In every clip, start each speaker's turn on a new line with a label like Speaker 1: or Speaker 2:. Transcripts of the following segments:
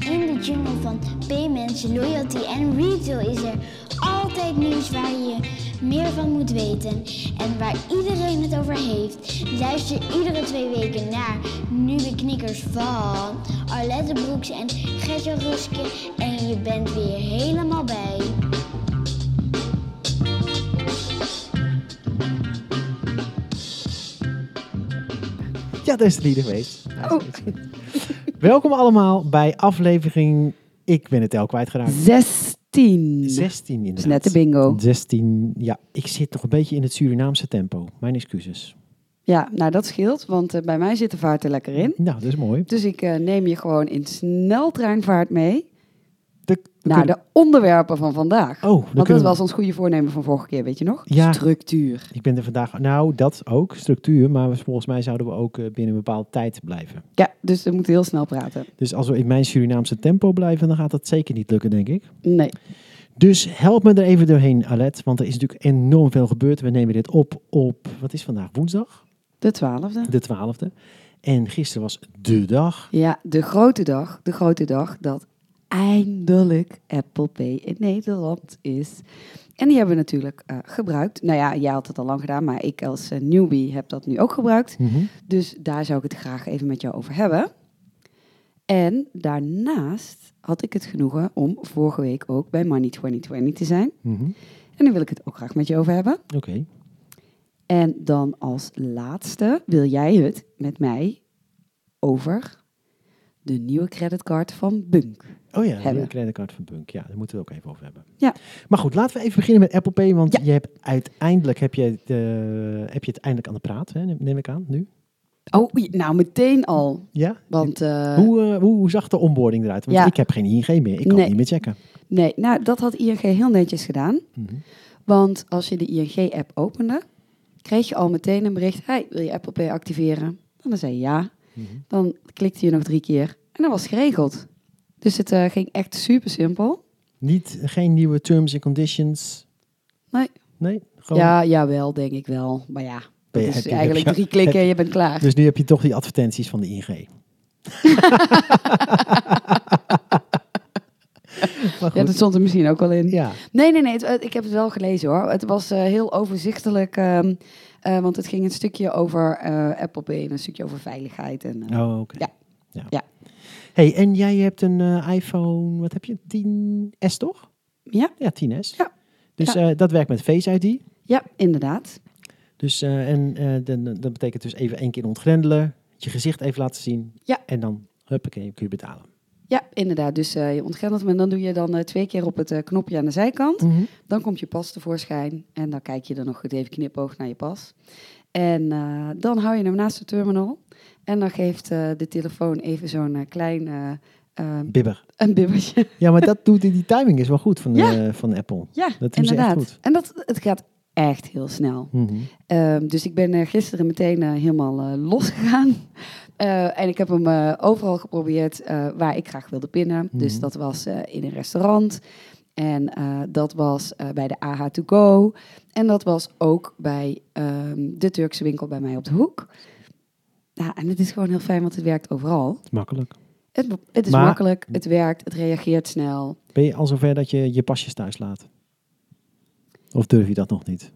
Speaker 1: In de jungle van payments, loyalty en retail is er altijd nieuws waar je meer van moet weten en waar iedereen het over heeft. Luister iedere twee weken naar nieuwe knikkers van Arlette Broeks en Gertje Ruske en je bent weer helemaal bij.
Speaker 2: Ja, dat is het niet geweest. Daar is het niet. Welkom allemaal bij aflevering. Ik ben het tel kwijtgeraakt.
Speaker 3: 16.
Speaker 2: 16
Speaker 3: Dat is
Speaker 2: inderdaad.
Speaker 3: net de bingo.
Speaker 2: 16, ja, ik zit nog een beetje in het Surinaamse tempo. Mijn excuses.
Speaker 3: Ja, nou dat scheelt, want eh, bij mij zit de vaart er lekker in.
Speaker 2: Nou, dat is mooi.
Speaker 3: Dus ik eh, neem je gewoon in sneltreinvaart mee
Speaker 2: De, we
Speaker 3: naar
Speaker 2: kunnen-
Speaker 3: Nou, de onderwerpen van vandaag.
Speaker 2: Oh, dan
Speaker 3: want
Speaker 2: kunnen
Speaker 3: dat
Speaker 2: we-
Speaker 3: was ons goede voornemen van vorige keer, weet je nog?
Speaker 2: Ja.
Speaker 3: Structuur.
Speaker 2: Ik ben er vandaag, nou dat ook, structuur, maar we- volgens mij zouden we ook eh, binnen een bepaalde tijd blijven.
Speaker 3: Ja, dus we moeten heel snel praten.
Speaker 2: Dus als we in mijn Surinaamse tempo blijven, dan gaat dat zeker niet lukken, denk ik.
Speaker 3: Nee,
Speaker 2: Dus help me er even doorheen, Alet, want er is natuurlijk enorm veel gebeurd. We nemen dit op op, wat is vandaag, woensdag?
Speaker 3: de twaalfde.
Speaker 2: de 12e. En gisteren was de dag.
Speaker 3: Ja, de grote dag, de grote dag dat eindelijk Apple Pay in Nederland is. En die hebben we natuurlijk eh, gebruikt. Nou ja, jij had het al lang gedaan, maar ik als eh, newbie heb dat nu ook gebruikt.
Speaker 2: Mhm.
Speaker 3: Dus daar zou ik het graag even met jou over hebben. En daarnaast had ik het genoegen om vorige week ook bij Money 2020 te zijn.
Speaker 2: Mhm.
Speaker 3: En daar wil ik het ook graag met je over hebben.
Speaker 2: Oké.
Speaker 3: En dan als laatste wil jij het met mij over de nieuwe creditcard van Bunk.
Speaker 2: Oh ja,
Speaker 3: Hebben.
Speaker 2: de creditcard van Bunk. Ja, daar moeten we het ook even over hebben.
Speaker 3: Ja.
Speaker 2: Maar goed, laten we even beginnen met Apple Pay. Want
Speaker 3: Ja.
Speaker 2: je hebt uiteindelijk heb je, het, eh, heb je het eindelijk aan de praat, hè, neem- neem ik aan, nu.
Speaker 3: Oh, je- nou meteen al.
Speaker 2: Ja?
Speaker 3: Want eh,
Speaker 2: hoe, eh, hoe, hoe zag de onboarding eruit? Want
Speaker 3: Ja.
Speaker 2: ik heb geen ING meer. Ik kan
Speaker 3: Nee.
Speaker 2: niet meer checken.
Speaker 3: nee, nou dat had ING heel netjes gedaan.
Speaker 2: Mhm.
Speaker 3: Want als je de ING-app opende, kreeg je al meteen een bericht. Hey, wil je Apple Pay activeren? En dan zei je ja.
Speaker 2: Mhm.
Speaker 3: Dan klikte je nog drie keer en dat was geregeld. Dus het eh, ging echt super simpel.
Speaker 2: Niet, geen nieuwe terms en conditions.
Speaker 3: Nee.
Speaker 2: Nee? Gewoon.
Speaker 3: Ja, jawel, denk ik wel. Maar ja,
Speaker 2: Ben
Speaker 3: dat
Speaker 2: je-
Speaker 3: is
Speaker 2: heb je-
Speaker 3: eigenlijk
Speaker 2: heb je-
Speaker 3: drie klikken
Speaker 2: heb-
Speaker 3: en je bent klaar.
Speaker 2: Dus nu heb je toch die advertenties van de ING. maar
Speaker 3: ja,
Speaker 2: goed,
Speaker 3: dat stond er misschien ook wel in.
Speaker 2: ja.
Speaker 3: Nee, nee, nee. het- het- ik heb het wel gelezen hoor. Het was eh, heel overzichtelijk. ehm, eh, want het ging een stukje over eh, Apple Pay en een stukje over veiligheid. En, eh,
Speaker 2: Oh, oké.
Speaker 3: Ja.
Speaker 2: Ja.
Speaker 3: Ja.
Speaker 2: Hey, en jij hebt een eh, iPhone, wat heb je? 10S toch?
Speaker 3: ja.
Speaker 2: Ja, 10S.
Speaker 3: Ja.
Speaker 2: Dus eh, dat werkt met Face ID.
Speaker 3: ja, inderdaad.
Speaker 2: Dus, eh, en eh, dan, dat betekent dus even één keer ontgrendelen, je gezicht even laten zien.
Speaker 3: Ja.
Speaker 2: En dan, huppakee, kun je betalen.
Speaker 3: Ja, inderdaad. Dus eh, je ontgrendelt hem en dan doe je dan eh, twee keer op het eh, knopje aan de zijkant. Dan komt je pas tevoorschijn en dan kijk je er nog goed even knipoog naar je pas. En eh, dan hou je hem naast de terminal en dan geeft eh, de telefoon even zo'n eh, klein eh, eh,
Speaker 2: Bibber.
Speaker 3: een bibbertje.
Speaker 2: Ja, maar dat doet, die timing is wel goed van,
Speaker 3: Ja.
Speaker 2: eh, van Apple.
Speaker 3: ja,
Speaker 2: doen ze echt
Speaker 3: inderdaad.
Speaker 2: goed.
Speaker 3: En dat, het gaat echt heel snel.
Speaker 2: Mhm.
Speaker 3: Ehm, dus ik ben eh, gisteren meteen eh, helemaal eh, losgegaan. Eh, en ik heb hem eh, overal geprobeerd eh, waar ik graag wilde pinnen. Dus
Speaker 2: Mhm.
Speaker 3: dat was eh, in een restaurant. En eh, dat was eh, bij de AH To Go. En dat was ook bij ehm, de Turkse winkel bij mij op de hoek. Ja, en het is gewoon heel fijn, want het werkt overal.
Speaker 2: Makkelijk.
Speaker 3: Het, het is
Speaker 2: Maar-
Speaker 3: makkelijk, het werkt, het reageert snel.
Speaker 2: Ben je al zover dat je je pasjes thuis laat? Of durf je dat nog niet?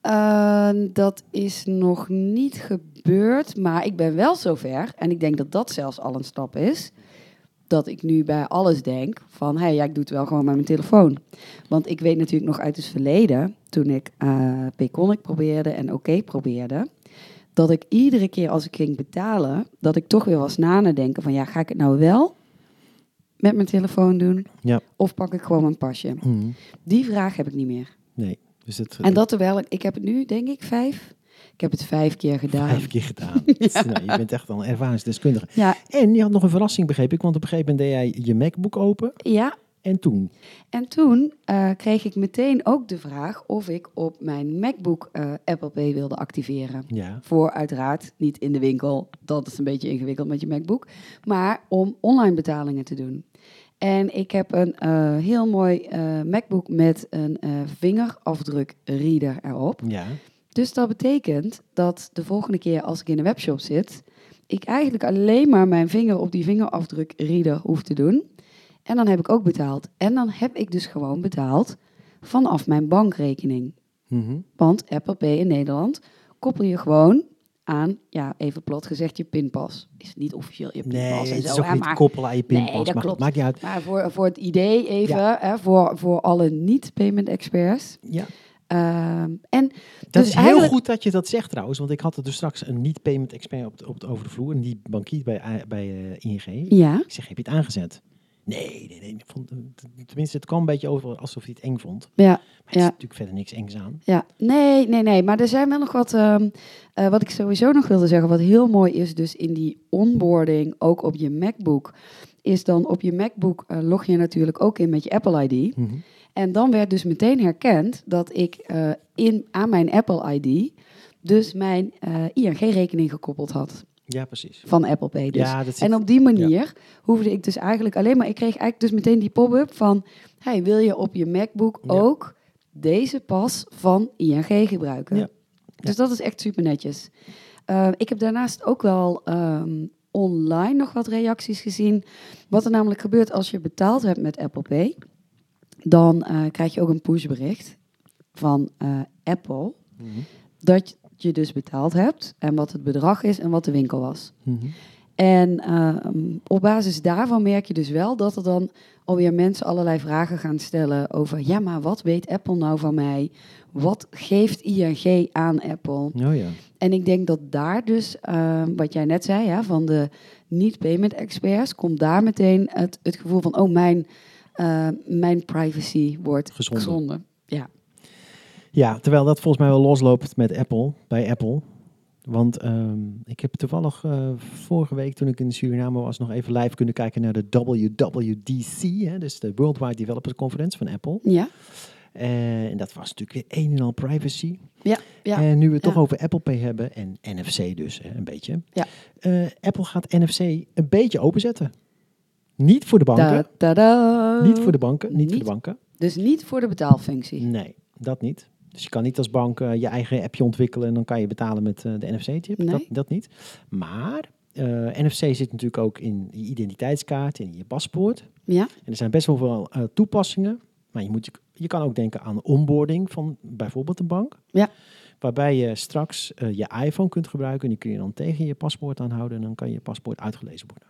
Speaker 3: Eh, dat is nog niet gebeurd, maar ik ben wel zover. En ik denk dat dat zelfs al een stap is. Dat ik nu bij alles denk van, hé, hey, ja, ik doe het wel gewoon met mijn telefoon. Want ik weet natuurlijk nog uit het verleden, toen ik eh Payconic probeerde en OK probeerde, dat ik iedere keer als ik ging betalen, dat ik toch weer was na nadenken van, ja, ga ik het nou wel met mijn telefoon doen?
Speaker 2: Ja.
Speaker 3: Of pak ik gewoon mijn pasje? Die vraag heb ik niet meer.
Speaker 2: Nee. Dus het,
Speaker 3: En dat terwijl ik, ik heb het nu denk ik vijf. Ik heb het vijf keer gedaan.
Speaker 2: Vijf keer gedaan. Nou, je bent echt al een ervaringsdeskundige.
Speaker 3: Ja,
Speaker 2: En je had nog een verrassing, begreep ik. Want op een gegeven moment deed jij je MacBook open.
Speaker 3: ja.
Speaker 2: En toen?
Speaker 3: En toen eh, kreeg ik meteen ook de vraag of ik op mijn MacBook eh, Apple Pay wilde activeren.
Speaker 2: Ja.
Speaker 3: Voor uiteraard niet in de winkel. Dat is een beetje ingewikkeld met je MacBook. Maar om online betalingen te doen. En ik heb een eh, heel mooi eh, MacBook met een eh vingerafdrukreader erop.
Speaker 2: Ja.
Speaker 3: Dus dat betekent dat de volgende keer als ik in een webshop zit ik eigenlijk alleen maar mijn vinger op die vingerafdrukreader hoef te doen. En dan heb ik ook betaald. En dan heb ik dus gewoon betaald vanaf mijn bankrekening.
Speaker 2: Mhm.
Speaker 3: Want Apple Pay in Nederland koppel je gewoon aan, ja, even plat gezegd, je pinpas. Is niet officieel je pinpas
Speaker 2: Nee,
Speaker 3: en
Speaker 2: het is
Speaker 3: zo,
Speaker 2: ook
Speaker 3: hè,
Speaker 2: niet
Speaker 3: maar,
Speaker 2: koppelen aan je
Speaker 3: Nee,
Speaker 2: pinpas.
Speaker 3: dat
Speaker 2: maar goed,
Speaker 3: klopt.
Speaker 2: maakt niet uit.
Speaker 3: maar voor, voor het idee even, hè, voor, voor alle niet-payment experts.
Speaker 2: Ja.
Speaker 3: Ehm, en
Speaker 2: Dat
Speaker 3: Dus
Speaker 2: is heel
Speaker 3: eigenlijk-
Speaker 2: goed dat je dat zegt trouwens, want ik had er dus straks een niet-payment expert op, de- op de over de vloer, en die bankier bij, A- bij eh, ING.
Speaker 3: ja,
Speaker 2: Ik zeg, heb je het aangezet? Nee, nee, nee. Ik vond, eh, tenminste, het kwam een beetje over alsof hij het eng vond.
Speaker 3: ja,
Speaker 2: Maar het is
Speaker 3: Ja.
Speaker 2: natuurlijk verder niks engs aan.
Speaker 3: ja. Nee, nee, nee. Maar er zijn wel nog wat, ehm, eh, wat ik sowieso nog wilde zeggen, wat heel mooi is dus in die onboarding, ook op je MacBook, is dan op je MacBook eh, log je natuurlijk ook in met je Apple ID.
Speaker 2: Mhm.
Speaker 3: En dan werd dus meteen herkend dat ik eh, in, aan mijn Apple ID dus mijn eh, ING-rekening gekoppeld had
Speaker 2: Ja, precies.
Speaker 3: van Apple Pay. Dus.
Speaker 2: Ja, dat zit-
Speaker 3: en op die manier hoefde ik dus eigenlijk alleen maar... Ik kreeg eigenlijk dus meteen die pop-up van... Hey, wil je op je MacBook
Speaker 2: Ja.
Speaker 3: ook deze pas van ING gebruiken?
Speaker 2: Ja.
Speaker 3: Dus dat is echt super netjes. Eh, ik heb daarnaast ook wel ehm, online nog wat reacties gezien. Wat er namelijk gebeurt als je betaald hebt met Apple Pay... dan eh, krijg je ook een pushbericht van eh, Apple...
Speaker 2: Mhm.
Speaker 3: dat je dus betaald hebt en wat het bedrag is en wat de winkel was.
Speaker 2: Mhm.
Speaker 3: En ehm, op basis daarvan merk je dus wel dat er dan alweer mensen allerlei vragen gaan stellen over, ja, maar wat weet Apple nou van mij? Wat geeft ING aan Apple?
Speaker 2: Oh ja.
Speaker 3: En ik denk dat daar dus, ehm, wat jij net zei, ja, van de niet-payment experts, komt daar meteen het, het gevoel van, oh, mijn, eh, mijn privacy wordt
Speaker 2: Gezonder.
Speaker 3: gezonder. Ja.
Speaker 2: Ja, terwijl dat volgens mij wel losloopt met Apple, bij Apple. Want ehm, ik heb toevallig eh, vorige week, toen ik in Suriname was, nog even live kunnen kijken naar de WWDC, hè, dus de Worldwide Developers Conference van Apple.
Speaker 3: Ja,
Speaker 2: Eh, en dat was natuurlijk weer een en al privacy.
Speaker 3: ja, ja.
Speaker 2: En nu we het
Speaker 3: Ja.
Speaker 2: toch over Apple Pay hebben en NFC dus hè, een beetje.
Speaker 3: Ja.
Speaker 2: Eh, Apple gaat NFC een beetje openzetten. Niet voor de banken.
Speaker 3: Da- da-da.
Speaker 2: Niet voor de Mm. banken. Niet, voor
Speaker 3: eh, Niet?
Speaker 2: de banken.
Speaker 3: Dus niet voor de betaalfunctie.
Speaker 2: Nee, dat niet. Dus je kan niet als bank eh, je eigen appje ontwikkelen en dan kan je betalen met eh, de NFC-chip.
Speaker 3: Nee.
Speaker 2: Dat, dat niet. Maar eh, NFC zit natuurlijk ook in je identiteitskaart, in je paspoort.
Speaker 3: Ja,
Speaker 2: En er zijn best wel veel eh, toepassingen. Maar je, moet, je kan ook denken aan onboarding van bijvoorbeeld een bank.
Speaker 3: Ja.
Speaker 2: Waarbij je straks eh, je iPhone kunt gebruiken. En die kun je dan tegen je paspoort aanhouden. En dan kan je paspoort uitgelezen worden.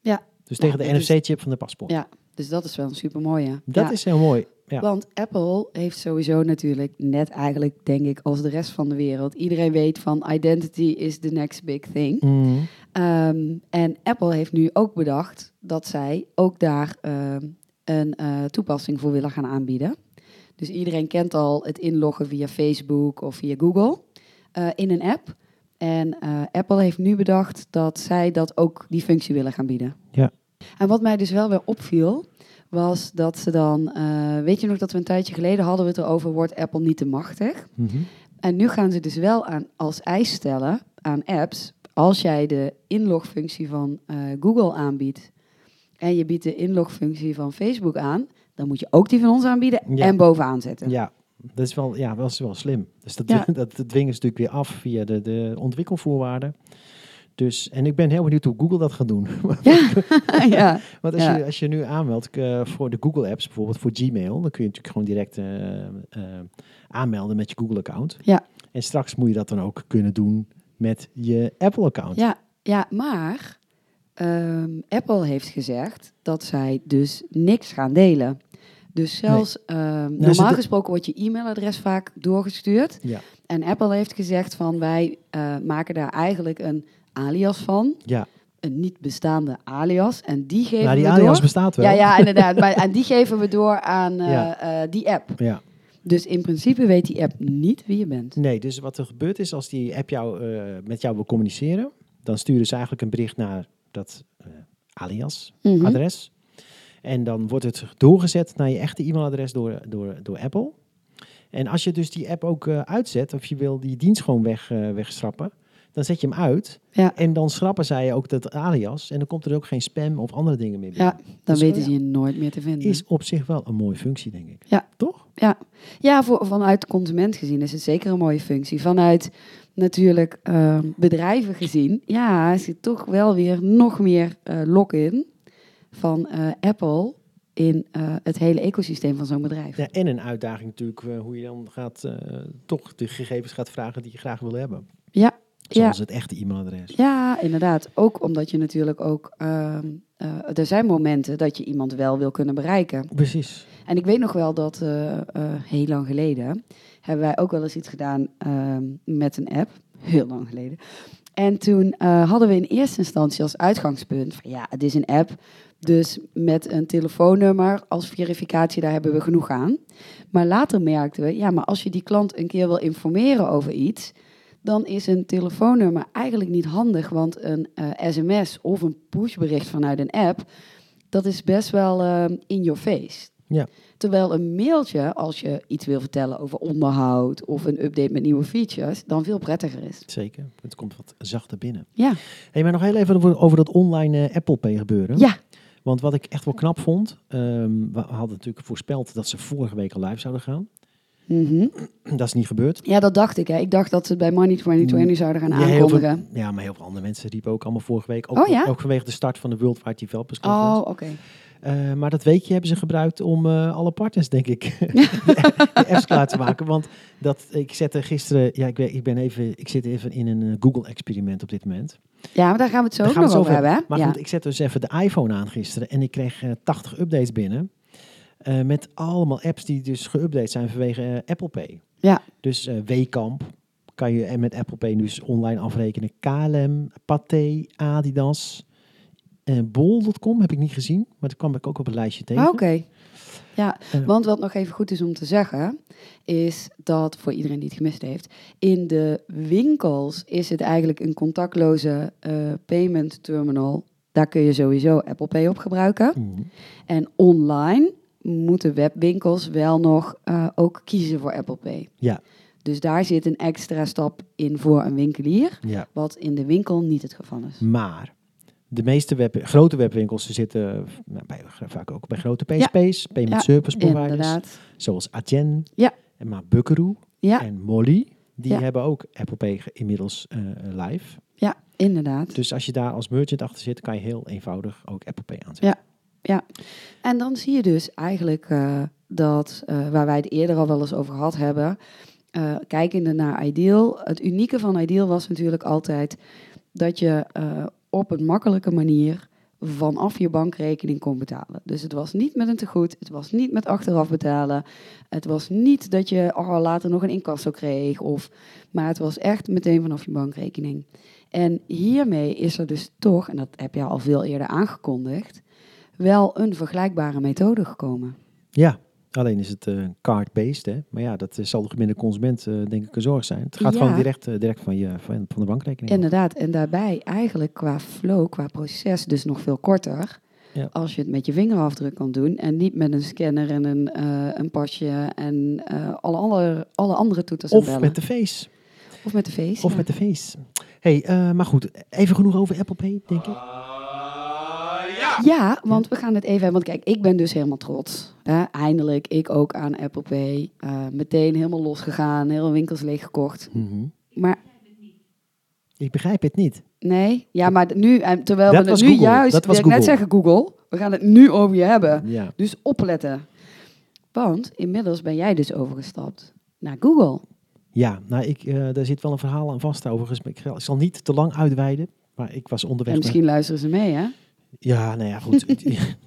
Speaker 3: Ja.
Speaker 2: Dus
Speaker 3: Ja,
Speaker 2: tegen de
Speaker 3: Nou, dat is-
Speaker 2: NFC-chip van de paspoort.
Speaker 3: ja. Dus dat is wel een supermooie.
Speaker 2: Dat
Speaker 3: Ja.
Speaker 2: is heel mooi. Ja.
Speaker 3: Want Apple heeft sowieso natuurlijk, net eigenlijk denk ik als de rest van de wereld, iedereen weet van identity is the next big thing.
Speaker 2: Mhm.
Speaker 3: Ehm, en Apple heeft nu ook bedacht dat zij ook daar ehm, een eh, toepassing voor willen gaan aanbieden. Dus iedereen kent al het inloggen via Facebook of via Google eh, in een app. En eh, Apple heeft nu bedacht dat zij dat ook die functie willen gaan bieden.
Speaker 2: Ja.
Speaker 3: En wat mij dus wel weer opviel, was dat ze dan... eh, weet je nog dat we een tijdje geleden hadden we het erover... wordt Apple niet te machtig?
Speaker 2: Mhm.
Speaker 3: En nu gaan ze dus wel aan, als eis stellen aan apps, als jij de inlogfunctie van eh, Google aanbiedt en je biedt de inlogfunctie van Facebook aan, dan moet je ook die van ons aanbieden
Speaker 2: Ja.
Speaker 3: en bovenaan zetten.
Speaker 2: Ja, dat is wel, ja, wel, is wel slim. Dus dat,
Speaker 3: Ja.
Speaker 2: dat dwingen ze natuurlijk weer af via de, de ontwikkelvoorwaarden. Dus, en ik ben heel benieuwd hoe Google dat gaat doen.
Speaker 3: Ja, ja.
Speaker 2: Want als,
Speaker 3: Ja.
Speaker 2: je, als je nu aanmeldt eh, voor de Google Apps, bijvoorbeeld voor Gmail, dan kun je natuurlijk gewoon direct eh, eh, aanmelden met je Google-account.
Speaker 3: Ja.
Speaker 2: En straks moet je dat dan ook kunnen doen met je Apple-account.
Speaker 3: ja, maar ehm, Apple heeft gezegd dat zij dus niks gaan delen. Dus zelfs ehm,
Speaker 2: ze
Speaker 3: normaal
Speaker 2: do-
Speaker 3: gesproken wordt je e-mailadres vaak doorgestuurd.
Speaker 2: Ja.
Speaker 3: En Apple heeft gezegd van wij eh, maken daar eigenlijk een alias van.
Speaker 2: Ja.
Speaker 3: Een niet bestaande alias. En die geven
Speaker 2: Nou, die
Speaker 3: we
Speaker 2: alias
Speaker 3: door.
Speaker 2: bestaat wel.
Speaker 3: Ja, ja, inderdaad. maar, en die geven we door aan eh, eh, die app.
Speaker 2: Ja.
Speaker 3: Dus in principe weet die app niet wie je bent.
Speaker 2: Nee, dus wat er gebeurt is als die app jou, eh, met jou wil communiceren, dan sturen ze eigenlijk een bericht naar dat eh, alias,
Speaker 3: Mhm.
Speaker 2: adres. En dan wordt het doorgezet naar je echte e-mailadres door, door, door Apple. En als je dus die app ook eh, uitzet, of je wil die dienst gewoon weg, eh, wegschrappen, dan zet je hem uit.
Speaker 3: Ja.
Speaker 2: En dan schrappen zij ook dat alias. En dan komt er ook geen spam of andere dingen meer binnen.
Speaker 3: Ja, dan
Speaker 2: Dus,
Speaker 3: weten
Speaker 2: oh
Speaker 3: ze je nooit meer te vinden.
Speaker 2: Is op zich wel een mooie functie, denk ik.
Speaker 3: Ja.
Speaker 2: Toch?
Speaker 3: ja. ja voor, vanuit de consument gezien is het zeker een mooie functie. Vanuit natuurlijk eh, bedrijven gezien, ja, is er toch wel weer nog meer eh lock-in van eh, Apple in eh, het hele ecosysteem van zo'n bedrijf.
Speaker 2: Ja, en een uitdaging natuurlijk, eh, hoe je dan gaat, eh, toch de gegevens gaat vragen die je graag wil hebben.
Speaker 3: Ja,
Speaker 2: Zoals het echte e-mailadres.
Speaker 3: Ja, inderdaad. Ook omdat je natuurlijk ook. ehm, eh, er zijn momenten dat je iemand wel wil kunnen bereiken.
Speaker 2: Precies.
Speaker 3: En ik weet nog wel dat eh, eh, heel lang geleden hebben wij ook wel eens iets gedaan ehm, met een app. Heel lang geleden. En toen eh, hadden we in eerste instantie als uitgangspunt van ja, het is een app. Dus met een telefoonnummer als verificatie, daar hebben we genoeg aan. Maar later merkten we, ja, maar als je die klant een keer wil informeren over iets, dan is een telefoonnummer eigenlijk niet handig. Want een eh, sms of een pushbericht vanuit een app, dat is best wel eh, in your face.
Speaker 2: Ja.
Speaker 3: Terwijl een mailtje, als je iets wil vertellen over onderhoud of een update met nieuwe features, dan veel prettiger is.
Speaker 2: Zeker. Het komt wat zachter binnen.
Speaker 3: Ja,
Speaker 2: hey, maar nog heel even over- over dat online eh, Apple Pay gebeuren.
Speaker 3: ja.
Speaker 2: Want wat ik echt wel knap vond, ehm, we hadden natuurlijk voorspeld dat ze vorige week al live zouden gaan.
Speaker 3: Mhm.
Speaker 2: Dat is niet gebeurd.
Speaker 3: ja dat dacht ik. Hè. Ik dacht dat ze het bij Money 2020 zouden gaan
Speaker 2: Mm. Ja, heel veel-
Speaker 3: Nou, aankondigen.
Speaker 2: ja, maar heel veel andere mensen riepen ook allemaal vorige week. Ook,
Speaker 3: Oh, ja?
Speaker 2: ook vanwege de start van de Worldwide Developers
Speaker 3: Oh,
Speaker 2: Conference.
Speaker 3: oké.
Speaker 2: Eh, maar dat weekje hebben ze gebruikt om eh, alle partners, denk ik, de apps klaar te maken. Want dat, ik zette gisteren, ja, ik, ben, ik, ben even, ik zit even in een eh, Google-experiment op dit moment.
Speaker 3: Ja, maar daar gaan we het zo
Speaker 2: Daar
Speaker 3: ook
Speaker 2: gaan we
Speaker 3: nog
Speaker 2: het
Speaker 3: over
Speaker 2: zo over
Speaker 3: hebben. hè?
Speaker 2: Maar
Speaker 3: ja.
Speaker 2: goed, ik zette dus even de iPhone aan gisteren en ik kreeg eh, 80 updates binnen. eh, met allemaal apps die dus geüpdate zijn vanwege eh, Apple Pay.
Speaker 3: Ja.
Speaker 2: Dus eh Wekamp kan je eh, met Apple Pay nu dus online afrekenen. KLM, Pathé, Adidas, eh, bol.com heb ik niet gezien, maar dat kwam ik ook op het lijstje tegen.
Speaker 3: Ah, Oké. Ja,
Speaker 2: Eh.
Speaker 3: want wat nog even goed is om te zeggen, is dat voor iedereen die het gemist heeft, in de winkels is het eigenlijk een contactloze eh, payment terminal. Daar kun je sowieso Apple Pay op gebruiken.
Speaker 2: Mhm.
Speaker 3: En online moeten webwinkels wel nog eh, ook kiezen voor Apple Pay.
Speaker 2: Ja.
Speaker 3: Dus daar zit een extra stap in voor een winkelier,
Speaker 2: Ja.
Speaker 3: wat in de winkel niet het geval is.
Speaker 2: Maar de meeste web, grote webwinkels zitten nou, bij, vaak ook bij grote PSP's, payment
Speaker 3: Ja,
Speaker 2: service providers,
Speaker 3: Inderdaad.
Speaker 2: zoals Adyen,
Speaker 3: Ja.
Speaker 2: en maar Buckaroo
Speaker 3: Ja,
Speaker 2: en Molly. Die
Speaker 3: Ja.
Speaker 2: hebben ook Apple Pay ge- inmiddels eh, live.
Speaker 3: ja, inderdaad.
Speaker 2: Dus als je daar als merchant achter zit, kan je heel eenvoudig ook Apple Pay aanzetten.
Speaker 3: En dan zie je dus eigenlijk eh, dat, eh, waar wij het eerder al wel eens over gehad hebben, eh, kijkende naar Ideal. Het unieke van Ideal was natuurlijk altijd dat je eh, op een makkelijke manier vanaf je bankrekening kon betalen. Dus het was niet met een tegoed, het was niet met achteraf betalen, het was niet dat je oh, later nog een incasso kreeg, of, maar het was echt meteen vanaf je bankrekening. En hiermee is er dus toch, en dat heb je al veel eerder aangekondigd, wel een vergelijkbare methode gekomen.
Speaker 2: Ja, alleen is het eh, card-based. hè. Maar ja, dat eh, zal de gemiddelde consument eh, denk ik een zorg zijn. Het gaat
Speaker 3: Ja.
Speaker 2: gewoon direct, eh, direct van, je, van, van de bankrekening. af.
Speaker 3: Inderdaad, en daarbij eigenlijk qua flow, qua proces dus nog veel korter.
Speaker 2: Ja.
Speaker 3: Als je het met je vingerafdruk kan doen en niet met een scanner en een, eh, een pasje en eh, alle, andere, alle andere toeters en
Speaker 2: of
Speaker 3: bellen.
Speaker 2: met de face.
Speaker 3: of met de face.
Speaker 2: Of
Speaker 3: ja.
Speaker 2: met de face. hey, eh, maar goed, even genoeg over Apple Pay, denk ik.
Speaker 3: Ja, want we gaan het even hebben. Want kijk, ik ben dus helemaal trots. Hè? Eindelijk, ik ook aan Apple Pay. Eh, meteen helemaal losgegaan, heel winkels leeggekocht. Maar
Speaker 2: Ik begrijp het niet.
Speaker 3: nee, ja, maar d- nu, en terwijl
Speaker 2: Dat
Speaker 3: we het
Speaker 2: was
Speaker 3: nu
Speaker 2: Google,
Speaker 3: juist,
Speaker 2: dat was
Speaker 3: wil ik net
Speaker 2: Google.
Speaker 3: zeggen Google, we gaan het nu over je hebben.
Speaker 2: Ja.
Speaker 3: Dus opletten. Want inmiddels ben jij dus overgestapt naar Google.
Speaker 2: Ja, nou, ik, eh, daar zit wel een verhaal aan vast overigens. maar Ik zal, ik zal niet te lang uitweiden, maar ik was onderweg...
Speaker 3: en misschien luisteren ze mee, hè?
Speaker 2: Naar, ja, nou ja, goed.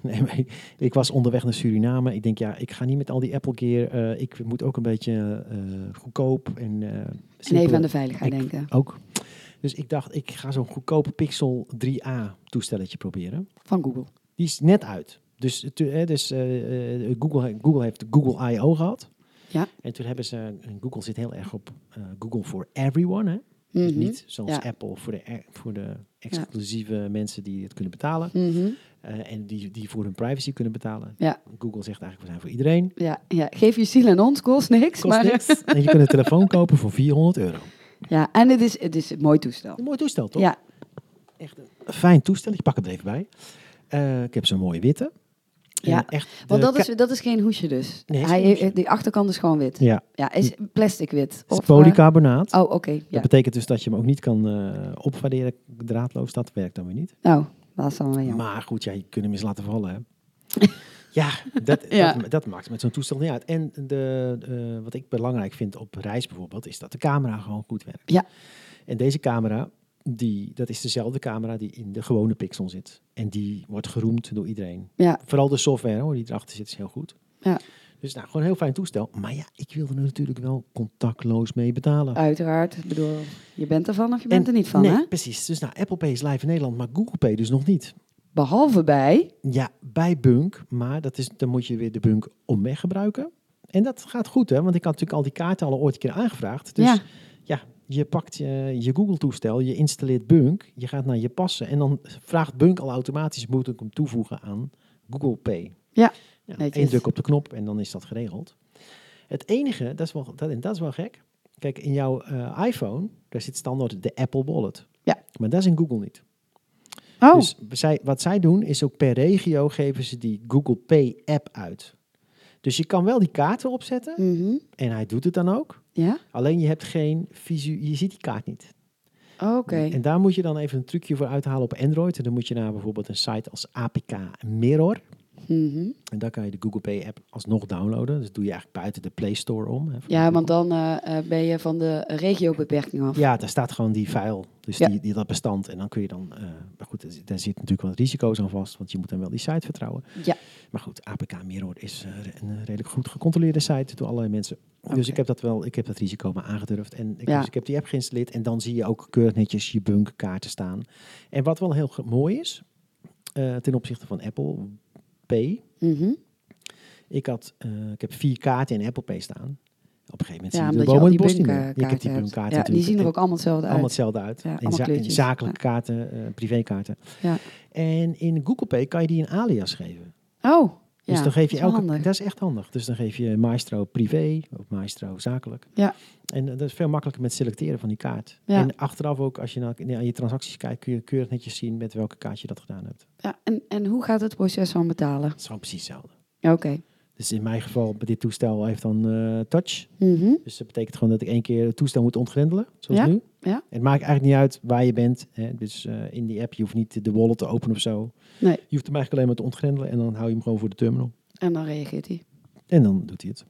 Speaker 2: nee, maar ik, ik was onderweg naar Suriname. Ik denk, ja, ik ga niet met al die Apple gear. eh, ik moet ook een beetje eh, goedkoop en... eh,
Speaker 3: En even
Speaker 2: simpel-
Speaker 3: aan de veiligheid
Speaker 2: Ik-
Speaker 3: denken.
Speaker 2: Ook. Dus ik dacht, ik ga zo'n goedkope Pixel 3a toestelletje proberen.
Speaker 3: Van Google.
Speaker 2: Die is net uit. Dus, eh, tu- hè, dus eh, eh, Google, Google heeft Google I.O. gehad.
Speaker 3: Ja.
Speaker 2: En toen hebben ze, en Google zit heel erg op eh, Google for everyone. Hè? Dus
Speaker 3: Mhm.
Speaker 2: niet zoals
Speaker 3: Ja.
Speaker 2: Apple voor de, e- voor de exclusieve mensen die het kunnen betalen.
Speaker 3: Mhm.
Speaker 2: eh, en die, die voor hun privacy kunnen betalen.
Speaker 3: Ja.
Speaker 2: Google zegt eigenlijk, we zijn voor iedereen.
Speaker 3: ja, ja, geef je ziel en ons, kost niks.
Speaker 2: Kost
Speaker 3: maar,
Speaker 2: niks. en je kunt een telefoon kopen voor 400 euro.
Speaker 3: Ja, en het is, het is een mooi toestel.
Speaker 2: Een mooi toestel, toch?
Speaker 3: Ja,
Speaker 2: Echt een fijn toestel. Ik pak hem er even bij. Eh, ik heb zo'n mooie witte. En
Speaker 3: Ja,
Speaker 2: echt de
Speaker 3: Want dat
Speaker 2: ka-
Speaker 3: is, dat is geen hoesje dus.
Speaker 2: Nee, is
Speaker 3: Hij,
Speaker 2: geen hoesje.
Speaker 3: Die achterkant is gewoon wit.
Speaker 2: Ja,
Speaker 3: Ja, is plastic wit.
Speaker 2: het
Speaker 3: Of,
Speaker 2: is
Speaker 3: eh,
Speaker 2: polycarbonaat.
Speaker 3: oh, oké. ja.
Speaker 2: Dat betekent dus dat je hem ook niet kan eh opwaarderen draadloos. Dat werkt dan weer niet.
Speaker 3: Nou, dat is dan wel jammer.
Speaker 2: Maar goed, ja, je kunt hem eens laten vallen. Hè? ja, dat,
Speaker 3: Ja.
Speaker 2: Dat, dat maakt met zo'n toestel niet uit. En de, eh, wat ik belangrijk vind op reis bijvoorbeeld, is dat de camera gewoon goed werkt.
Speaker 3: Ja.
Speaker 2: En deze camera, die, dat is dezelfde camera die in de gewone Pixel zit. En die wordt geroemd door iedereen.
Speaker 3: Ja.
Speaker 2: Vooral de software hoor, die erachter zit, is heel goed.
Speaker 3: Ja.
Speaker 2: Dus nou, gewoon een heel fijn toestel. Maar ja, ik wil er natuurlijk wel contactloos mee betalen.
Speaker 3: Uiteraard. Ik bedoel, je bent ervan of je
Speaker 2: En-
Speaker 3: bent er niet van,
Speaker 2: nee,
Speaker 3: hè?
Speaker 2: precies. Dus nou, Apple Pay is live in Nederland, maar Google Pay dus nog niet.
Speaker 3: Behalve bij...
Speaker 2: Ja, bij Bunk, maar dat is, dan moet je weer de Bunk omweg gebruiken. En dat gaat goed, hè? Want ik had natuurlijk al die kaarten al ooit een keer aangevraagd. Dus
Speaker 3: Ja.
Speaker 2: ja, je pakt eh, je Google-toestel, je installeert Bunk, je gaat naar je passen en dan vraagt Bunk al automatisch, moet ik hem toevoegen aan Google Pay?
Speaker 3: Ja,
Speaker 2: ja
Speaker 3: netjes.
Speaker 2: één druk op de knop en dan is dat geregeld. Het enige, dat is wel, dat, en dat is wel gek. Kijk, in jouw eh, iPhone, daar zit standaard de Apple Wallet.
Speaker 3: Ja.
Speaker 2: Maar dat is in Google niet.
Speaker 3: Oh,
Speaker 2: Dus zij, wat zij doen is ook per regio geven ze die Google Pay app uit. Dus je kan wel die kaarten opzetten
Speaker 3: mhm.
Speaker 2: en hij doet het dan ook.
Speaker 3: ja?
Speaker 2: Alleen je hebt geen visu, je ziet die kaart niet.
Speaker 3: Oké.
Speaker 2: En daar moet je dan even een trucje voor uithalen op Android. En dan moet je naar bijvoorbeeld een site als APK Mirror.
Speaker 3: Mhm.
Speaker 2: En daar kan je de Google Pay app alsnog downloaden. Dus doe je eigenlijk buiten de Play Store om. hè, voor
Speaker 3: Ja,
Speaker 2: Google.
Speaker 3: want dan eh, eh, ben je van de regiobeperking af.
Speaker 2: Ja, daar staat gewoon die file, dus
Speaker 3: Ja.
Speaker 2: die, die, dat bestand. En dan kun je dan, eh, maar goed, er zit- daar zit natuurlijk wat risico's aan vast, want je moet dan wel die site vertrouwen.
Speaker 3: Ja.
Speaker 2: Maar goed, APK Mirror is eh, re- een eh, redelijk goed gecontroleerde site door allerlei mensen. Dus
Speaker 3: Oké.
Speaker 2: ik heb dat wel, ik heb dat risico maar aangedurfd. En ik,
Speaker 3: Ja.
Speaker 2: dus ik heb die app geïnstalleerd en dan zie je ook keurig netjes je bunkkaarten staan. En wat wel heel ge- mooi is, eh, ten opzichte van Apple Pay,
Speaker 3: Mhm.
Speaker 2: ik, had, eh, ik heb vier kaarten in Apple Pay staan. Op een gegeven moment
Speaker 3: Ja,
Speaker 2: zie je de
Speaker 3: omdat je al
Speaker 2: bomen
Speaker 3: die
Speaker 2: in het bos niet meer.
Speaker 3: bunkerkaarten
Speaker 2: Ik heb die
Speaker 3: hebt.
Speaker 2: bunkerkaarten
Speaker 3: Ja, die
Speaker 2: natuurlijk.
Speaker 3: zien er
Speaker 2: En-
Speaker 3: ook allemaal hetzelfde
Speaker 2: allemaal
Speaker 3: uit.
Speaker 2: hetzelfde uit.
Speaker 3: Ja,
Speaker 2: in,
Speaker 3: allemaal
Speaker 2: za- in
Speaker 3: kleurtjes.
Speaker 2: zakelijke kaarten, eh, privékaarten.
Speaker 3: Ja.
Speaker 2: En in Google Pay kan je die een alias geven.
Speaker 3: Oh, ja.
Speaker 2: dus dan geef
Speaker 3: dat
Speaker 2: je
Speaker 3: is wel
Speaker 2: elke,
Speaker 3: handig.
Speaker 2: dat is echt handig. Dus dan geef je Maestro privé of Maestro zakelijk.
Speaker 3: Ja.
Speaker 2: En eh, dat is veel makkelijker met selecteren van die kaart.
Speaker 3: Ja.
Speaker 2: En achteraf ook, als je naar, naar je transacties kijkt, kun je keurig netjes zien met welke kaart je dat gedaan hebt.
Speaker 3: Ja, en, en hoe gaat het proces van betalen?
Speaker 2: Dat is gewoon precies hetzelfde.
Speaker 3: Oké.
Speaker 2: Dus in mijn geval, bij dit toestel heeft dan eh, touch.
Speaker 3: Mhm.
Speaker 2: Dus dat betekent gewoon dat ik één keer het toestel moet ontgrendelen, zoals
Speaker 3: Ja,
Speaker 2: nu.
Speaker 3: ja.
Speaker 2: Het maakt eigenlijk niet uit waar je bent. Hè. Dus eh, in die app, je hoeft niet de wallet te openen of zo.
Speaker 3: Nee.
Speaker 2: Je hoeft hem eigenlijk alleen maar te ontgrendelen en dan hou je hem gewoon voor de terminal.
Speaker 3: En dan reageert hij.
Speaker 2: En dan doet hij het.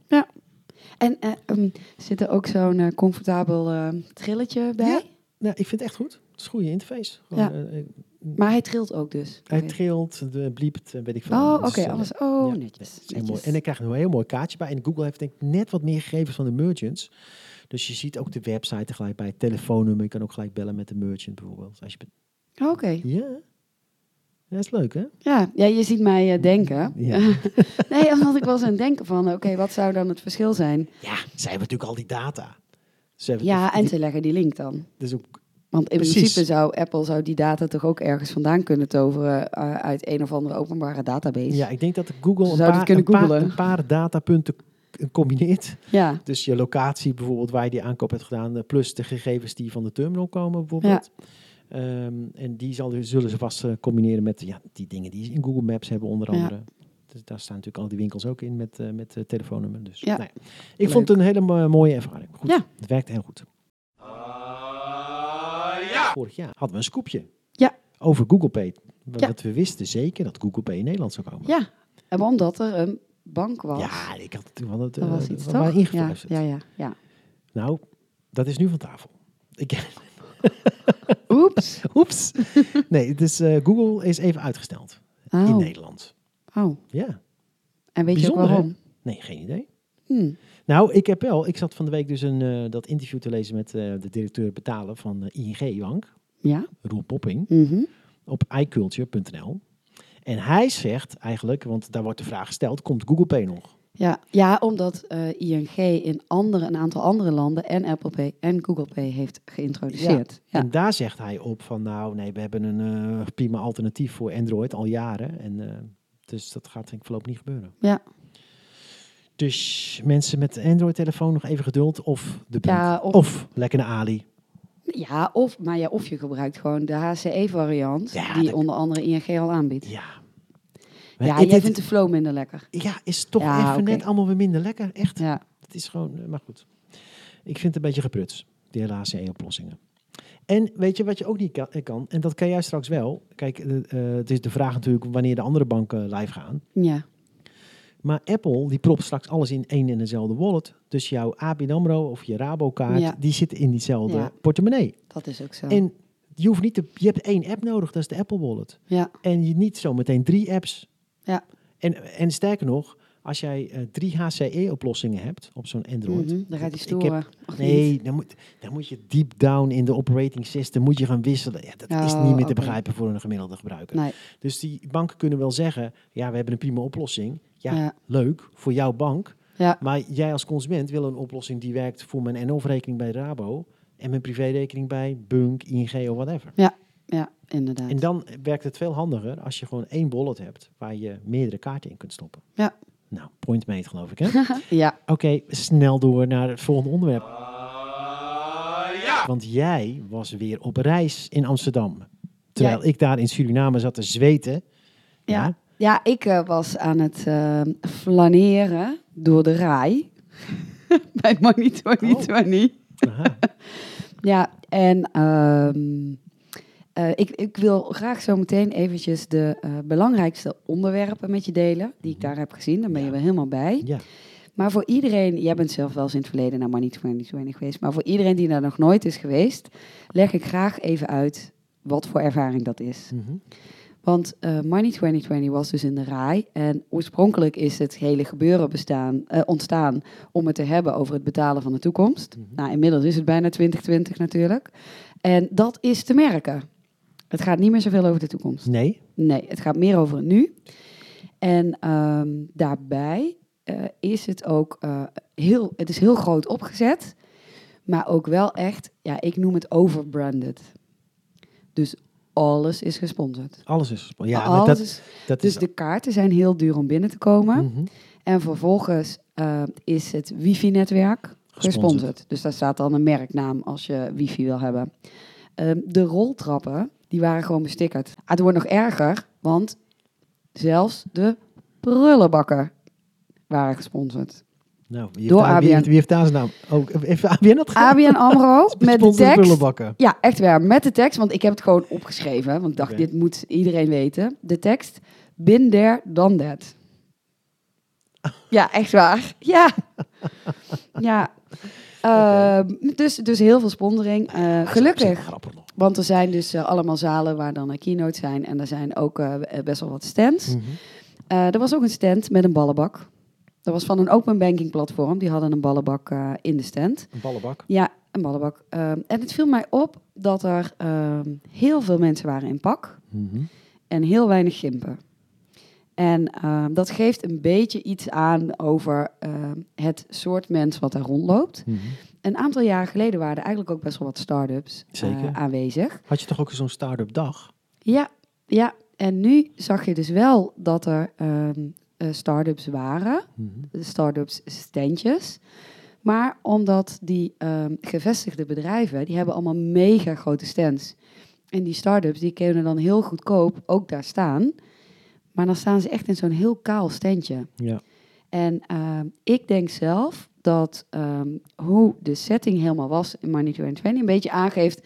Speaker 3: En eh, ehm, zit er ook zo'n eh, comfortabel ehm, trilletje bij?
Speaker 2: Ja. Nou, ik vind het echt goed. Het is een goede interface. Gewoon,
Speaker 3: Ja.
Speaker 2: eh, eh,
Speaker 3: Maar hij trilt ook dus.
Speaker 2: hij
Speaker 3: Oké.
Speaker 2: trilt, de bliept, eh, weet ik veel.
Speaker 3: Oh,
Speaker 2: Dus,
Speaker 3: oké,
Speaker 2: eh,
Speaker 3: alles. Oh,
Speaker 2: ja,
Speaker 3: netjes.
Speaker 2: Heel mooi.
Speaker 3: netjes.
Speaker 2: En ik krijg een heel mooi kaartje bij. En Google heeft denk ik net wat meer gegevens van de merchants. Dus je ziet ook de website tegelijk bij, het telefoonnummer. Je kan ook gelijk bellen met de merchant bijvoorbeeld. Als je be-
Speaker 3: Oké,
Speaker 2: ja. Dat is leuk, hè?
Speaker 3: ja. ja, je ziet mij eh, denken.
Speaker 2: Ja.
Speaker 3: Nee, omdat ik was aan het denken van, oké, wat zou dan het verschil zijn?
Speaker 2: Ja, zij hebben natuurlijk al die data. Ze hebben
Speaker 3: Ja, en
Speaker 2: die-
Speaker 3: ze leggen die link dan.
Speaker 2: dus ook,
Speaker 3: Want in
Speaker 2: Precies.
Speaker 3: principe zou Apple zou die data toch ook ergens vandaan kunnen toveren eh, uit een of andere openbare database.
Speaker 2: ja, ik denk dat Google een
Speaker 3: zouden
Speaker 2: paar,
Speaker 3: het kunnen
Speaker 2: een, paar,
Speaker 3: googlen.
Speaker 2: een paar datapunten k- combineert.
Speaker 3: ja.
Speaker 2: Dus je locatie bijvoorbeeld waar je die aankoop hebt gedaan, eh, plus de gegevens die van de terminal komen bijvoorbeeld. Ehm, en die zal, zullen ze vast eh, combineren met ja, die dingen die ze in Google Maps hebben onder
Speaker 3: Ja.
Speaker 2: andere. Dus daar staan natuurlijk al die winkels ook in met, eh met eh, telefoonnummer. Dus
Speaker 3: Ja.
Speaker 2: nou ja. ik vond het een hele mo- mooie ervaring. Goed,
Speaker 3: Ja.
Speaker 2: Het werkt heel goed. Vorig jaar hadden we een scoopje
Speaker 3: Ja.
Speaker 2: over Google Pay. Want
Speaker 3: Ja.
Speaker 2: dat we wisten zeker dat Google Pay in Nederland zou komen.
Speaker 3: ja, en omdat er een bank was.
Speaker 2: Ja, ik had toen wel het
Speaker 3: dat
Speaker 2: eh,
Speaker 3: was iets
Speaker 2: we
Speaker 3: toch?
Speaker 2: waren
Speaker 3: ja,
Speaker 2: ingefluisterd.
Speaker 3: ja, ja, ja.
Speaker 2: Nou, dat is nu van tafel. Ik,
Speaker 3: Oeps.
Speaker 2: oeps. Nee, dus eh, Google is even uitgesteld in
Speaker 3: Oh.
Speaker 2: Nederland.
Speaker 3: oh.
Speaker 2: Ja,
Speaker 3: En weet je
Speaker 2: Bijzonder,
Speaker 3: ook
Speaker 2: hè?
Speaker 3: waarom?
Speaker 2: nee, geen idee.
Speaker 3: Hm.
Speaker 2: Nou, ik heb wel, ik zat van de week dus een, eh, dat interview te lezen met eh, de directeur betalen van eh, ING Bank,
Speaker 3: Ja.
Speaker 2: Roel Popping,
Speaker 3: Mhm.
Speaker 2: op iculture.nl. En hij zegt eigenlijk, want daar wordt de vraag gesteld, komt Google Pay nog?
Speaker 3: Ja, ja, omdat eh, ING in andere, een aantal andere landen en Apple Pay en Google Pay heeft geïntroduceerd. Ja,
Speaker 2: En daar zegt hij op van, nou nee, we hebben een eh, prima alternatief voor Android al jaren. En, eh, dus dat gaat denk ik voorlopig niet gebeuren.
Speaker 3: ja.
Speaker 2: Dus mensen met een Android-telefoon nog even geduld. Of de bank.
Speaker 3: Ja,
Speaker 2: of,
Speaker 3: of-
Speaker 2: lekker naar Ali.
Speaker 3: ja of, maar ja, of je gebruikt gewoon de HCE-variant
Speaker 2: Ja,
Speaker 3: E die
Speaker 2: dat-
Speaker 3: onder andere ING al aanbiedt.
Speaker 2: Ja. Maar
Speaker 3: ja,
Speaker 2: dit-
Speaker 3: jij
Speaker 2: dit-
Speaker 3: vindt de flow minder lekker.
Speaker 2: ja, is toch
Speaker 3: Ja,
Speaker 2: even
Speaker 3: oké.
Speaker 2: net allemaal weer minder lekker. Echt.
Speaker 3: Ja.
Speaker 2: Het is gewoon, eh, maar goed. Ik vind het een beetje gepruts, die hele HCE-oplossingen. En weet je wat je ook niet ka- eh, kan, en dat kan jij straks wel. Kijk, eh, eh, het is de vraag natuurlijk wanneer de andere banken live gaan.
Speaker 3: Ja.
Speaker 2: Maar Apple die propt straks alles in één en dezelfde wallet. Dus jouw ABN AMRO of je Rabokaart,
Speaker 3: Ja.
Speaker 2: die zitten in diezelfde
Speaker 3: Ja.
Speaker 2: portemonnee.
Speaker 3: Dat is ook zo.
Speaker 2: En je, hoeft niet te, je hebt één app nodig, dat is de Apple Wallet.
Speaker 3: ja.
Speaker 2: En je niet zometeen drie apps.
Speaker 3: Ja.
Speaker 2: En, en sterker nog, als jij eh, drie HCE-oplossingen hebt op zo'n Android.
Speaker 3: Mhm, Dan gaat hij
Speaker 2: Ik heb-
Speaker 3: storen. Of niet.
Speaker 2: Nee, dan moet, dan moet je deep down in de operating system moet je gaan wisselen. Ja, dat is
Speaker 3: Oh,
Speaker 2: niet meer
Speaker 3: oké.
Speaker 2: te begrijpen voor een gemiddelde gebruiker.
Speaker 3: Nee.
Speaker 2: Dus die banken kunnen wel zeggen, ja, we hebben een prima oplossing. Ja,
Speaker 3: Ja.
Speaker 2: leuk voor jouw bank.
Speaker 3: Ja.
Speaker 2: Maar jij als consument wil een oplossing die werkt voor mijn NOF-rekening bij Rabo en mijn privérekening bij Bunk, ING of whatever.
Speaker 3: Ja, inderdaad.
Speaker 2: En dan werkt het veel handiger als je gewoon één wallet hebt waar je meerdere kaarten in kunt stoppen.
Speaker 3: Ja.
Speaker 2: Nou, point made geloof ik hè? Oké,
Speaker 3: ja.
Speaker 2: snel door naar het volgende onderwerp.
Speaker 4: ja!
Speaker 2: Want jij was weer op reis in Amsterdam. Terwijl
Speaker 3: Ja.
Speaker 2: ik daar in Suriname zat te zweten.
Speaker 3: Ja. Ja, ik eh, was aan het eh, flaneren door de rij. Bij Money 2020.
Speaker 2: Aha.
Speaker 3: Ja, en ehm, eh, ik, ik wil graag zo meteen eventjes de eh, belangrijkste onderwerpen met je delen. Die ik daar heb gezien. Daar ben je
Speaker 2: Ja.
Speaker 3: wel helemaal bij.
Speaker 2: ja.
Speaker 3: Maar voor iedereen, jij bent zelf wel eens in het verleden naar Money 2020 geweest. Maar voor iedereen die daar nog nooit is geweest, leg ik graag even uit wat voor ervaring dat is.
Speaker 2: Mhm.
Speaker 3: Want eh Money 2020 was dus in de RAI. En oorspronkelijk is het hele gebeuren bestaan, eh, ontstaan om het te hebben over het betalen van de toekomst. Nou, inmiddels is het bijna 2020 natuurlijk. En dat is te merken. Het gaat niet meer zoveel over de toekomst.
Speaker 2: Nee.
Speaker 3: Nee, het gaat meer over het nu. En ehm, daarbij eh, is het ook eh, heel, het is heel groot opgezet, maar ook wel echt, ja, ik noem het overbranded. Dus alles is gesponsord.
Speaker 2: Alles is. Ja, maar
Speaker 3: alles
Speaker 2: dat,
Speaker 3: is,
Speaker 2: dat
Speaker 3: dus
Speaker 2: is.
Speaker 3: de kaarten zijn heel duur om binnen te komen.
Speaker 2: Mhm.
Speaker 3: En vervolgens eh, is het wifi-netwerk gesponsord. Dus daar staat dan een merknaam als je wifi wil hebben. Ehm, de roltrappen, die waren gewoon bestikkerd. Ah, het wordt nog erger, want zelfs de prullenbakken waren gesponsord.
Speaker 2: Nou, wie heeft,
Speaker 3: Door
Speaker 2: daar, wie, heeft,
Speaker 3: ABN.
Speaker 2: wie heeft daar zijn naam? Oh, Ook heeft ABN dat gedaan?
Speaker 3: ABN AMRO met de
Speaker 2: Besponsorde
Speaker 3: tekst...
Speaker 2: prullenbakken.
Speaker 3: Ja, echt waar, met de tekst, want ik heb het gewoon opgeschreven. Want ik dacht,
Speaker 2: Oké.
Speaker 3: dit moet iedereen weten. De tekst, been there, done that. Ja, echt waar. Ja. Ja. Ehm, dus, dus heel veel sponsoring. Eh,
Speaker 2: Ah, Dat is
Speaker 3: gelukkig.
Speaker 2: grappig nog.
Speaker 3: Want er zijn dus eh, allemaal zalen waar dan een keynote zijn. En er zijn ook eh, eh, best wel wat stands.
Speaker 2: Mhm.
Speaker 3: Eh, er was ook een stand met een ballenbak. Dat was van een open banking platform. Die hadden een ballenbak eh, in de stand.
Speaker 2: Een ballenbak.
Speaker 3: Ja, een ballenbak. Ehm, en het viel mij op dat er ehm, heel veel mensen waren in pak
Speaker 2: Mhm.
Speaker 3: en heel weinig gimpen. En ehm, dat geeft een beetje iets aan over ehm, het soort mens wat daar rondloopt.
Speaker 2: Mhm.
Speaker 3: Een aantal jaren geleden waren er eigenlijk ook best wel wat start-ups eh,
Speaker 2: Zeker.
Speaker 3: aanwezig.
Speaker 2: Had je toch ook zo'n start-up dag?
Speaker 3: Ja, ja. En nu zag je dus wel dat er ehm eh, start-ups waren
Speaker 2: Mhm.
Speaker 3: de start-ups standjes. Maar omdat die ehm, gevestigde bedrijven, die hebben allemaal mega grote stands. En die start-ups, die kunnen dan heel goedkoop ook daar staan. Maar dan staan ze echt in zo'n heel kaal standje.
Speaker 2: Ja.
Speaker 3: En ehm, ik denk zelf dat ehm, hoe de setting helemaal was in Money 2020 een beetje aangeeft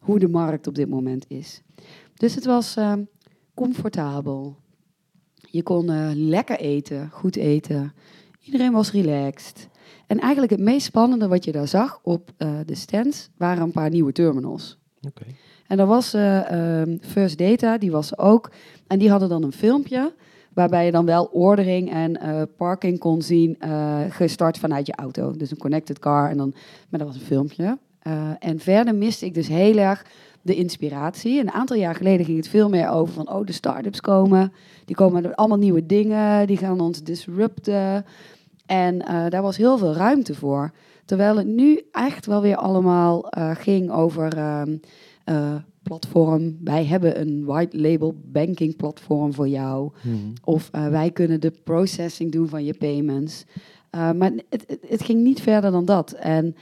Speaker 3: hoe de markt op dit moment is. Dus het was ehm, comfortabel. Je kon eh, lekker eten, goed eten. Iedereen was relaxed. En eigenlijk het meest spannende wat je daar zag op eh, de stands waren een paar nieuwe terminals.
Speaker 2: Oké.
Speaker 3: En er was eh, ehm, First Data, die was er ook. En die hadden dan een filmpje waarbij je dan wel ordering en eh, parking kon zien, eh, gestart vanuit je auto. Dus een connected car. En dan, maar dat was een filmpje. Eh, en verder miste ik dus heel erg de inspiratie. Een aantal jaar geleden ging het veel meer over van, oh, de start-ups komen. Die komen met allemaal nieuwe dingen, die gaan ons disrupten. En eh, daar was heel veel ruimte voor. Terwijl het nu echt wel weer allemaal eh, ging over... ehm, eh, platform. Wij hebben een white label banking platform voor jou.
Speaker 2: Mhm.
Speaker 3: Of eh, wij kunnen de processing doen van je payments. Eh, maar het, het, het ging niet verder dan dat. En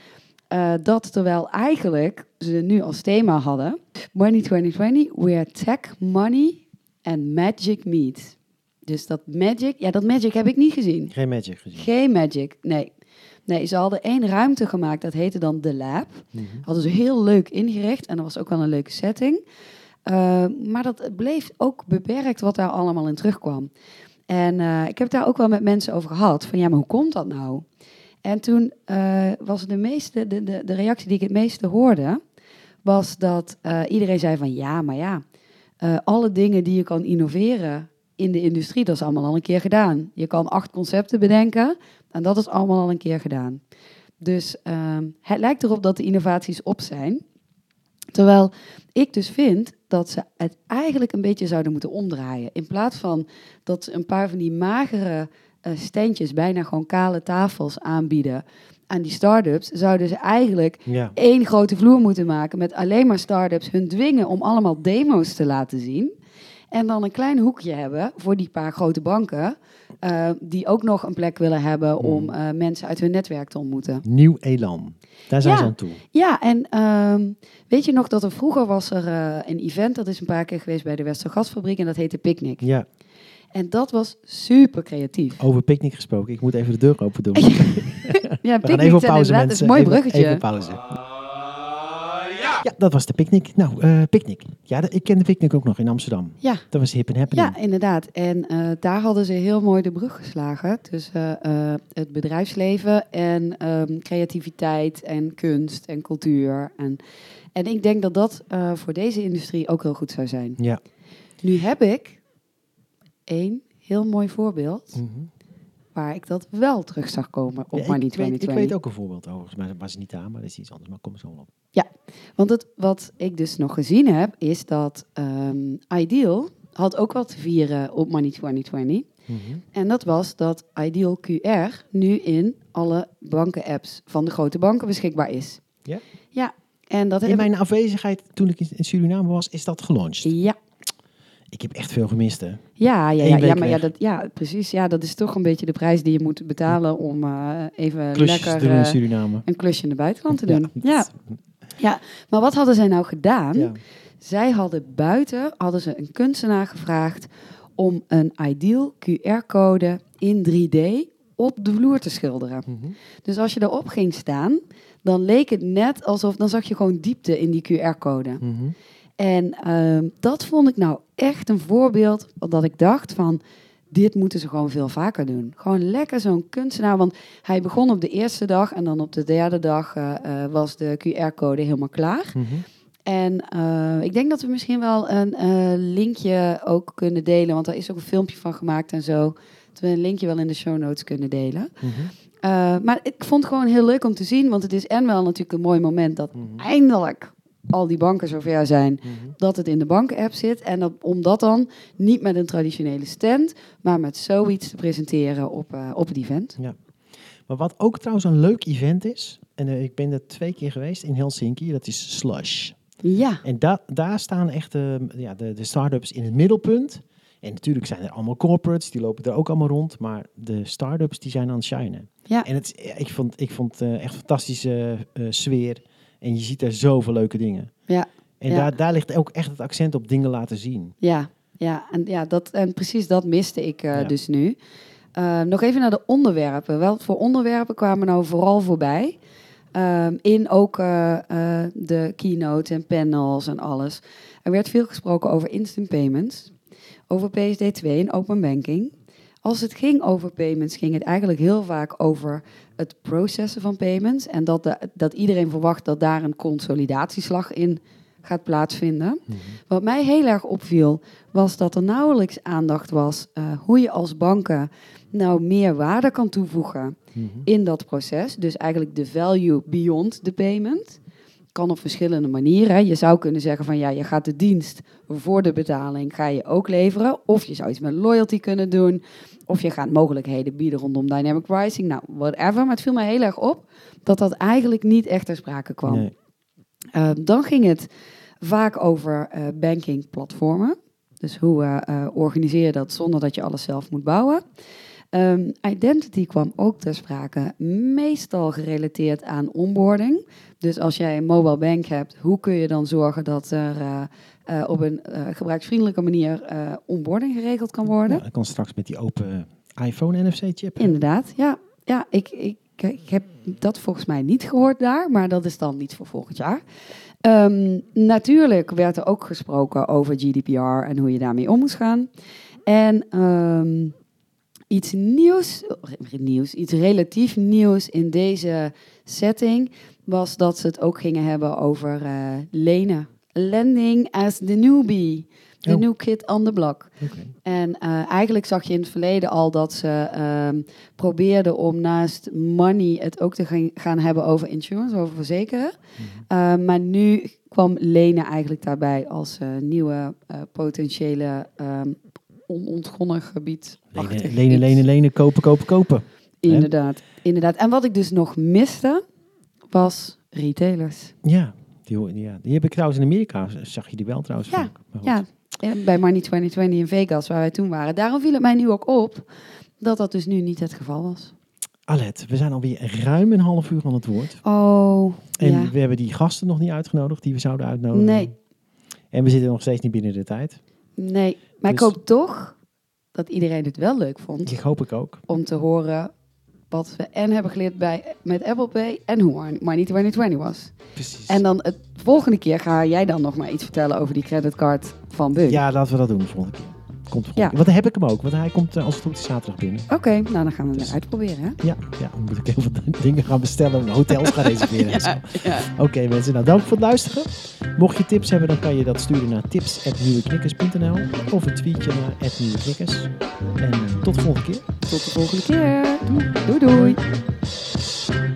Speaker 3: eh, dat terwijl eigenlijk ze nu als thema hadden: Money 2020, where tech, money and magic meet. Dus dat Magic, ja, dat Magic heb ik niet gezien.
Speaker 2: Geen Magic gezien.
Speaker 3: Geen Magic, nee. Nee, ze hadden één ruimte gemaakt, dat heette dan The Lab.
Speaker 2: Mhm.
Speaker 3: Hadden ze heel leuk ingericht en dat was ook wel een leuke setting. Eh, maar dat bleef ook beperkt wat daar allemaal in terugkwam. En eh, ik heb het daar ook wel met mensen over gehad, van ja, maar hoe komt dat nou? En toen eh, was de, meeste, de, de, de reactie die ik het meeste hoorde, was dat eh, iedereen zei van ja, maar ja, eh, alle dingen die je kan innoveren in de industrie, dat is allemaal al een keer gedaan. Je kan acht concepten bedenken en dat is allemaal al een keer gedaan. Dus ehm, het lijkt erop dat de innovaties op zijn. Terwijl ik dus vind dat ze het eigenlijk een beetje zouden moeten omdraaien. In plaats van dat ze een paar van die magere eh standjes, bijna gewoon kale tafels aanbieden aan die start-ups, zouden ze eigenlijk
Speaker 2: Ja.
Speaker 3: één grote vloer moeten maken met alleen maar start-ups hun dwingen om allemaal demo's te laten zien. En dan een klein hoekje hebben voor die paar grote banken, eh, die ook nog een plek willen hebben
Speaker 2: Hmm.
Speaker 3: om eh, mensen uit hun netwerk te ontmoeten.
Speaker 2: Nieuw elan. Daar zijn
Speaker 3: Ja.
Speaker 2: ze aan toe.
Speaker 3: Ja, en ehm, weet je nog dat er vroeger was er eh, een event, dat is een paar keer geweest bij de Westergasfabriek en dat heette Picnic.
Speaker 2: Ja,
Speaker 3: En dat was super creatief.
Speaker 2: over picknick gesproken. Ik moet even de deur open doen.
Speaker 3: Ja,
Speaker 2: We
Speaker 3: Ja,
Speaker 2: gaan even op pauze,
Speaker 3: inderdaad-
Speaker 2: mensen.
Speaker 3: dat is een mooi
Speaker 2: Even-
Speaker 3: bruggetje.
Speaker 2: Even pauze. Ja, dat was de picknick. Nou, eh picknick. Ja, dat- ik ken de picknick ook nog in Amsterdam.
Speaker 3: Ja.
Speaker 2: Dat was hip en happening.
Speaker 3: Ja, inderdaad. En eh, daar hadden ze heel mooi de brug geslagen tussen eh, het bedrijfsleven en ehm, creativiteit en kunst en cultuur. En, en ik denk dat dat eh, voor deze industrie ook heel goed zou zijn.
Speaker 2: Ja.
Speaker 3: Nu heb ik één heel mooi voorbeeld
Speaker 2: Mhm.
Speaker 3: waar ik dat wel terug zag komen op
Speaker 2: Ja,
Speaker 3: Money
Speaker 2: ik, weet,
Speaker 3: 2020.
Speaker 2: ik weet ook een voorbeeld overigens, maar dat was niet aan, maar dat is iets anders. Maar kom er zo wel op.
Speaker 3: Want het, wat ik dus nog gezien heb, is dat ehm, Ideal had ook wat te vieren op Money 2020.
Speaker 2: Mhm.
Speaker 3: En dat was dat Ideal QR nu in alle banken-apps van de grote banken beschikbaar is.
Speaker 2: Ja?
Speaker 3: Ja, en dat
Speaker 2: In
Speaker 3: heb ik-
Speaker 2: mijn afwezigheid toen ik in in Suriname was, is dat gelanceerd.
Speaker 3: Ja,
Speaker 2: Ik heb echt veel gemist, hè.
Speaker 3: ja, ja,
Speaker 2: Eén
Speaker 3: ja, ja,
Speaker 2: week
Speaker 3: maar ja,
Speaker 2: weg.
Speaker 3: dat, ja, precies. Ja, dat is toch een beetje de prijs die je moet betalen om eh, even
Speaker 2: Klusjes
Speaker 3: lekker
Speaker 2: te doen in
Speaker 3: eh,
Speaker 2: Suriname.
Speaker 3: een klusje in de buitenkant te doen. Ja, ja.
Speaker 2: dat-
Speaker 3: maar wat hadden zij nou gedaan?
Speaker 2: ja.
Speaker 3: Zij hadden buiten hadden ze een kunstenaar gevraagd om een Ideal QR-code in 3D op de vloer te schilderen.
Speaker 2: Mhm.
Speaker 3: Dus als je daarop ging staan, dan leek het net alsof, dan zag je gewoon diepte in die QR-code.
Speaker 2: Mhm.
Speaker 3: En ehm, dat vond ik nou echt een voorbeeld dat ik dacht van, dit moeten ze gewoon veel vaker doen. Gewoon lekker zo'n kunstenaar, want hij begon op de eerste dag en dan op de derde dag eh, eh, was de QR-code helemaal klaar.
Speaker 2: Mhm.
Speaker 3: En eh, ik denk dat we misschien wel een eh, linkje ook kunnen delen, want daar is ook een filmpje van gemaakt en zo. Dat we een linkje wel in de show notes kunnen delen.
Speaker 2: Mhm.
Speaker 3: Eh, maar ik vond het gewoon heel leuk om te zien, want het is en wel natuurlijk een mooi moment dat
Speaker 2: Mhm.
Speaker 3: eindelijk al die banken zover zijn
Speaker 2: Mhm.
Speaker 3: dat het in de banken-app zit. En dat, om dat dan niet met een traditionele stand, maar met zoiets te presenteren op, eh, op het event.
Speaker 2: Maar wat ook trouwens een leuk event is, en eh, ik ben er twee keer geweest in Helsinki, dat is Slush.
Speaker 3: Ja,
Speaker 2: En da- daar staan echt eh, ja, de, de start-ups in het middelpunt. En natuurlijk zijn er allemaal corporates, die lopen er ook allemaal rond. Maar de start-ups die zijn aan het shinen.
Speaker 3: Ja.
Speaker 2: En het, is- ik vond, ik vond eh, echt fantastische eh, sfeer. En je ziet daar zoveel leuke dingen.
Speaker 3: Ja,
Speaker 2: En
Speaker 3: ja.
Speaker 2: Daar, daar ligt ook echt het accent op dingen laten zien.
Speaker 3: ja, ja. En, ja dat, en precies dat miste ik eh,
Speaker 2: Ja.
Speaker 3: dus nu. Eh, nog even naar de onderwerpen. Wel, voor onderwerpen kwamen nou vooral voorbij. Ehm, in ook eh, eh, de keynote en panels en alles. Er werd veel gesproken over instant payments, over PSD2 en open banking. Als het ging over payments, ging het eigenlijk heel vaak over het processen van payments. En dat, de, dat iedereen verwacht dat daar een consolidatieslag in gaat plaatsvinden. Wat mij heel erg opviel, was dat er nauwelijks aandacht was eh, hoe je als banken nou meer waarde kan toevoegen in dat proces. Dus eigenlijk de value beyond the payment. Kan op verschillende manieren. Je zou kunnen zeggen van ja, je gaat de dienst voor de betaling ga je ook leveren. Of je zou iets met loyalty kunnen doen. Of je gaat mogelijkheden bieden rondom dynamic pricing. Nou, whatever. Maar het viel mij heel erg op dat dat eigenlijk niet echt ter sprake kwam.
Speaker 2: Nee.
Speaker 3: Eh, dan ging het vaak over eh bankingplatformen. Dus hoe eh, eh, organiseer je dat zonder dat je alles zelf moet bouwen. Eh, Ehm, identity kwam ook ter sprake, meestal gerelateerd aan onboarding. Dus als jij een mobile bank hebt, hoe kun je dan zorgen dat er eh, eh, op een eh, gebruiksvriendelijke manier eh, onboarding geregeld kan worden?
Speaker 2: Ja, dat kan straks met die open eh, iPhone NFC-chip.
Speaker 3: Inderdaad, ja. Ja, ik, ik, ik heb dat volgens mij niet gehoord daar, maar dat is dan niet voor volgend jaar. Ehm, natuurlijk werd er ook gesproken over GDPR en hoe je daarmee om moest gaan. En ehm, iets nieuws, nieuws, iets relatief nieuws in deze setting was dat ze het ook gingen hebben over eh, lenen. Lending as the newbie, the
Speaker 2: Oh.
Speaker 3: new kid on the block. En eh, eigenlijk zag je in het verleden al dat ze ehm, probeerden om naast money het ook te gaan, gaan hebben over insurance, over verzekeren. Eh, maar nu kwam lenen eigenlijk daarbij als eh, nieuwe eh, potentiële ehm onontgonnen gebied.
Speaker 2: Lenen, lenen, lenen, lenen, kopen, kopen, kopen.
Speaker 3: Inderdaad, inderdaad. En wat ik dus nog miste was retailers.
Speaker 2: Ja, die, ho- ja, die heb ik trouwens in Amerika, z- zag je die wel trouwens.
Speaker 3: Ja,
Speaker 2: vaak. Maar goed.
Speaker 3: Ja, eh, bij Money 2020 in Vegas, waar wij toen waren. Daarom viel het mij nu ook op dat dat dus nu niet het geval was.
Speaker 2: Alet, we zijn alweer ruim een half uur aan het woord.
Speaker 3: Oh,
Speaker 2: En
Speaker 3: ja.
Speaker 2: we hebben die gasten nog niet uitgenodigd die we zouden uitnodigen.
Speaker 3: Nee,
Speaker 2: En we zitten nog steeds niet binnen de tijd.
Speaker 3: nee. Maar
Speaker 2: Dus-
Speaker 3: ik hoop toch dat iedereen het wel leuk vond
Speaker 2: Ik hoop ik ook.
Speaker 3: om te horen wat we en hebben geleerd bij, met Apple Pay en hoe Mon- Money 2020 was.
Speaker 2: Precies.
Speaker 3: En dan het volgende keer ga jij dan nog maar iets vertellen over die creditcard van Bun.
Speaker 2: ja, laten we dat doen de volgende keer. Komt de volgende
Speaker 3: Ja.
Speaker 2: keer. Want dan heb ik hem ook, want hij komt eh, als het goed is zaterdag binnen.
Speaker 3: Oké, nou dan gaan we hem
Speaker 2: Dus-
Speaker 3: uitproberen. Hè?
Speaker 2: Ja, ja, dan moet ik heel veel dingen gaan bestellen, hotels gaan reserveren. en zo.
Speaker 3: ja.
Speaker 2: Oké mensen, nou dank voor het luisteren. Mocht je tips hebben, dan kan je dat sturen naar tips.nieuweknikkers.nl of een tweetje naar @nieuweknikkers. En tot de volgende keer.
Speaker 3: Tot de volgende keer. Doei doei.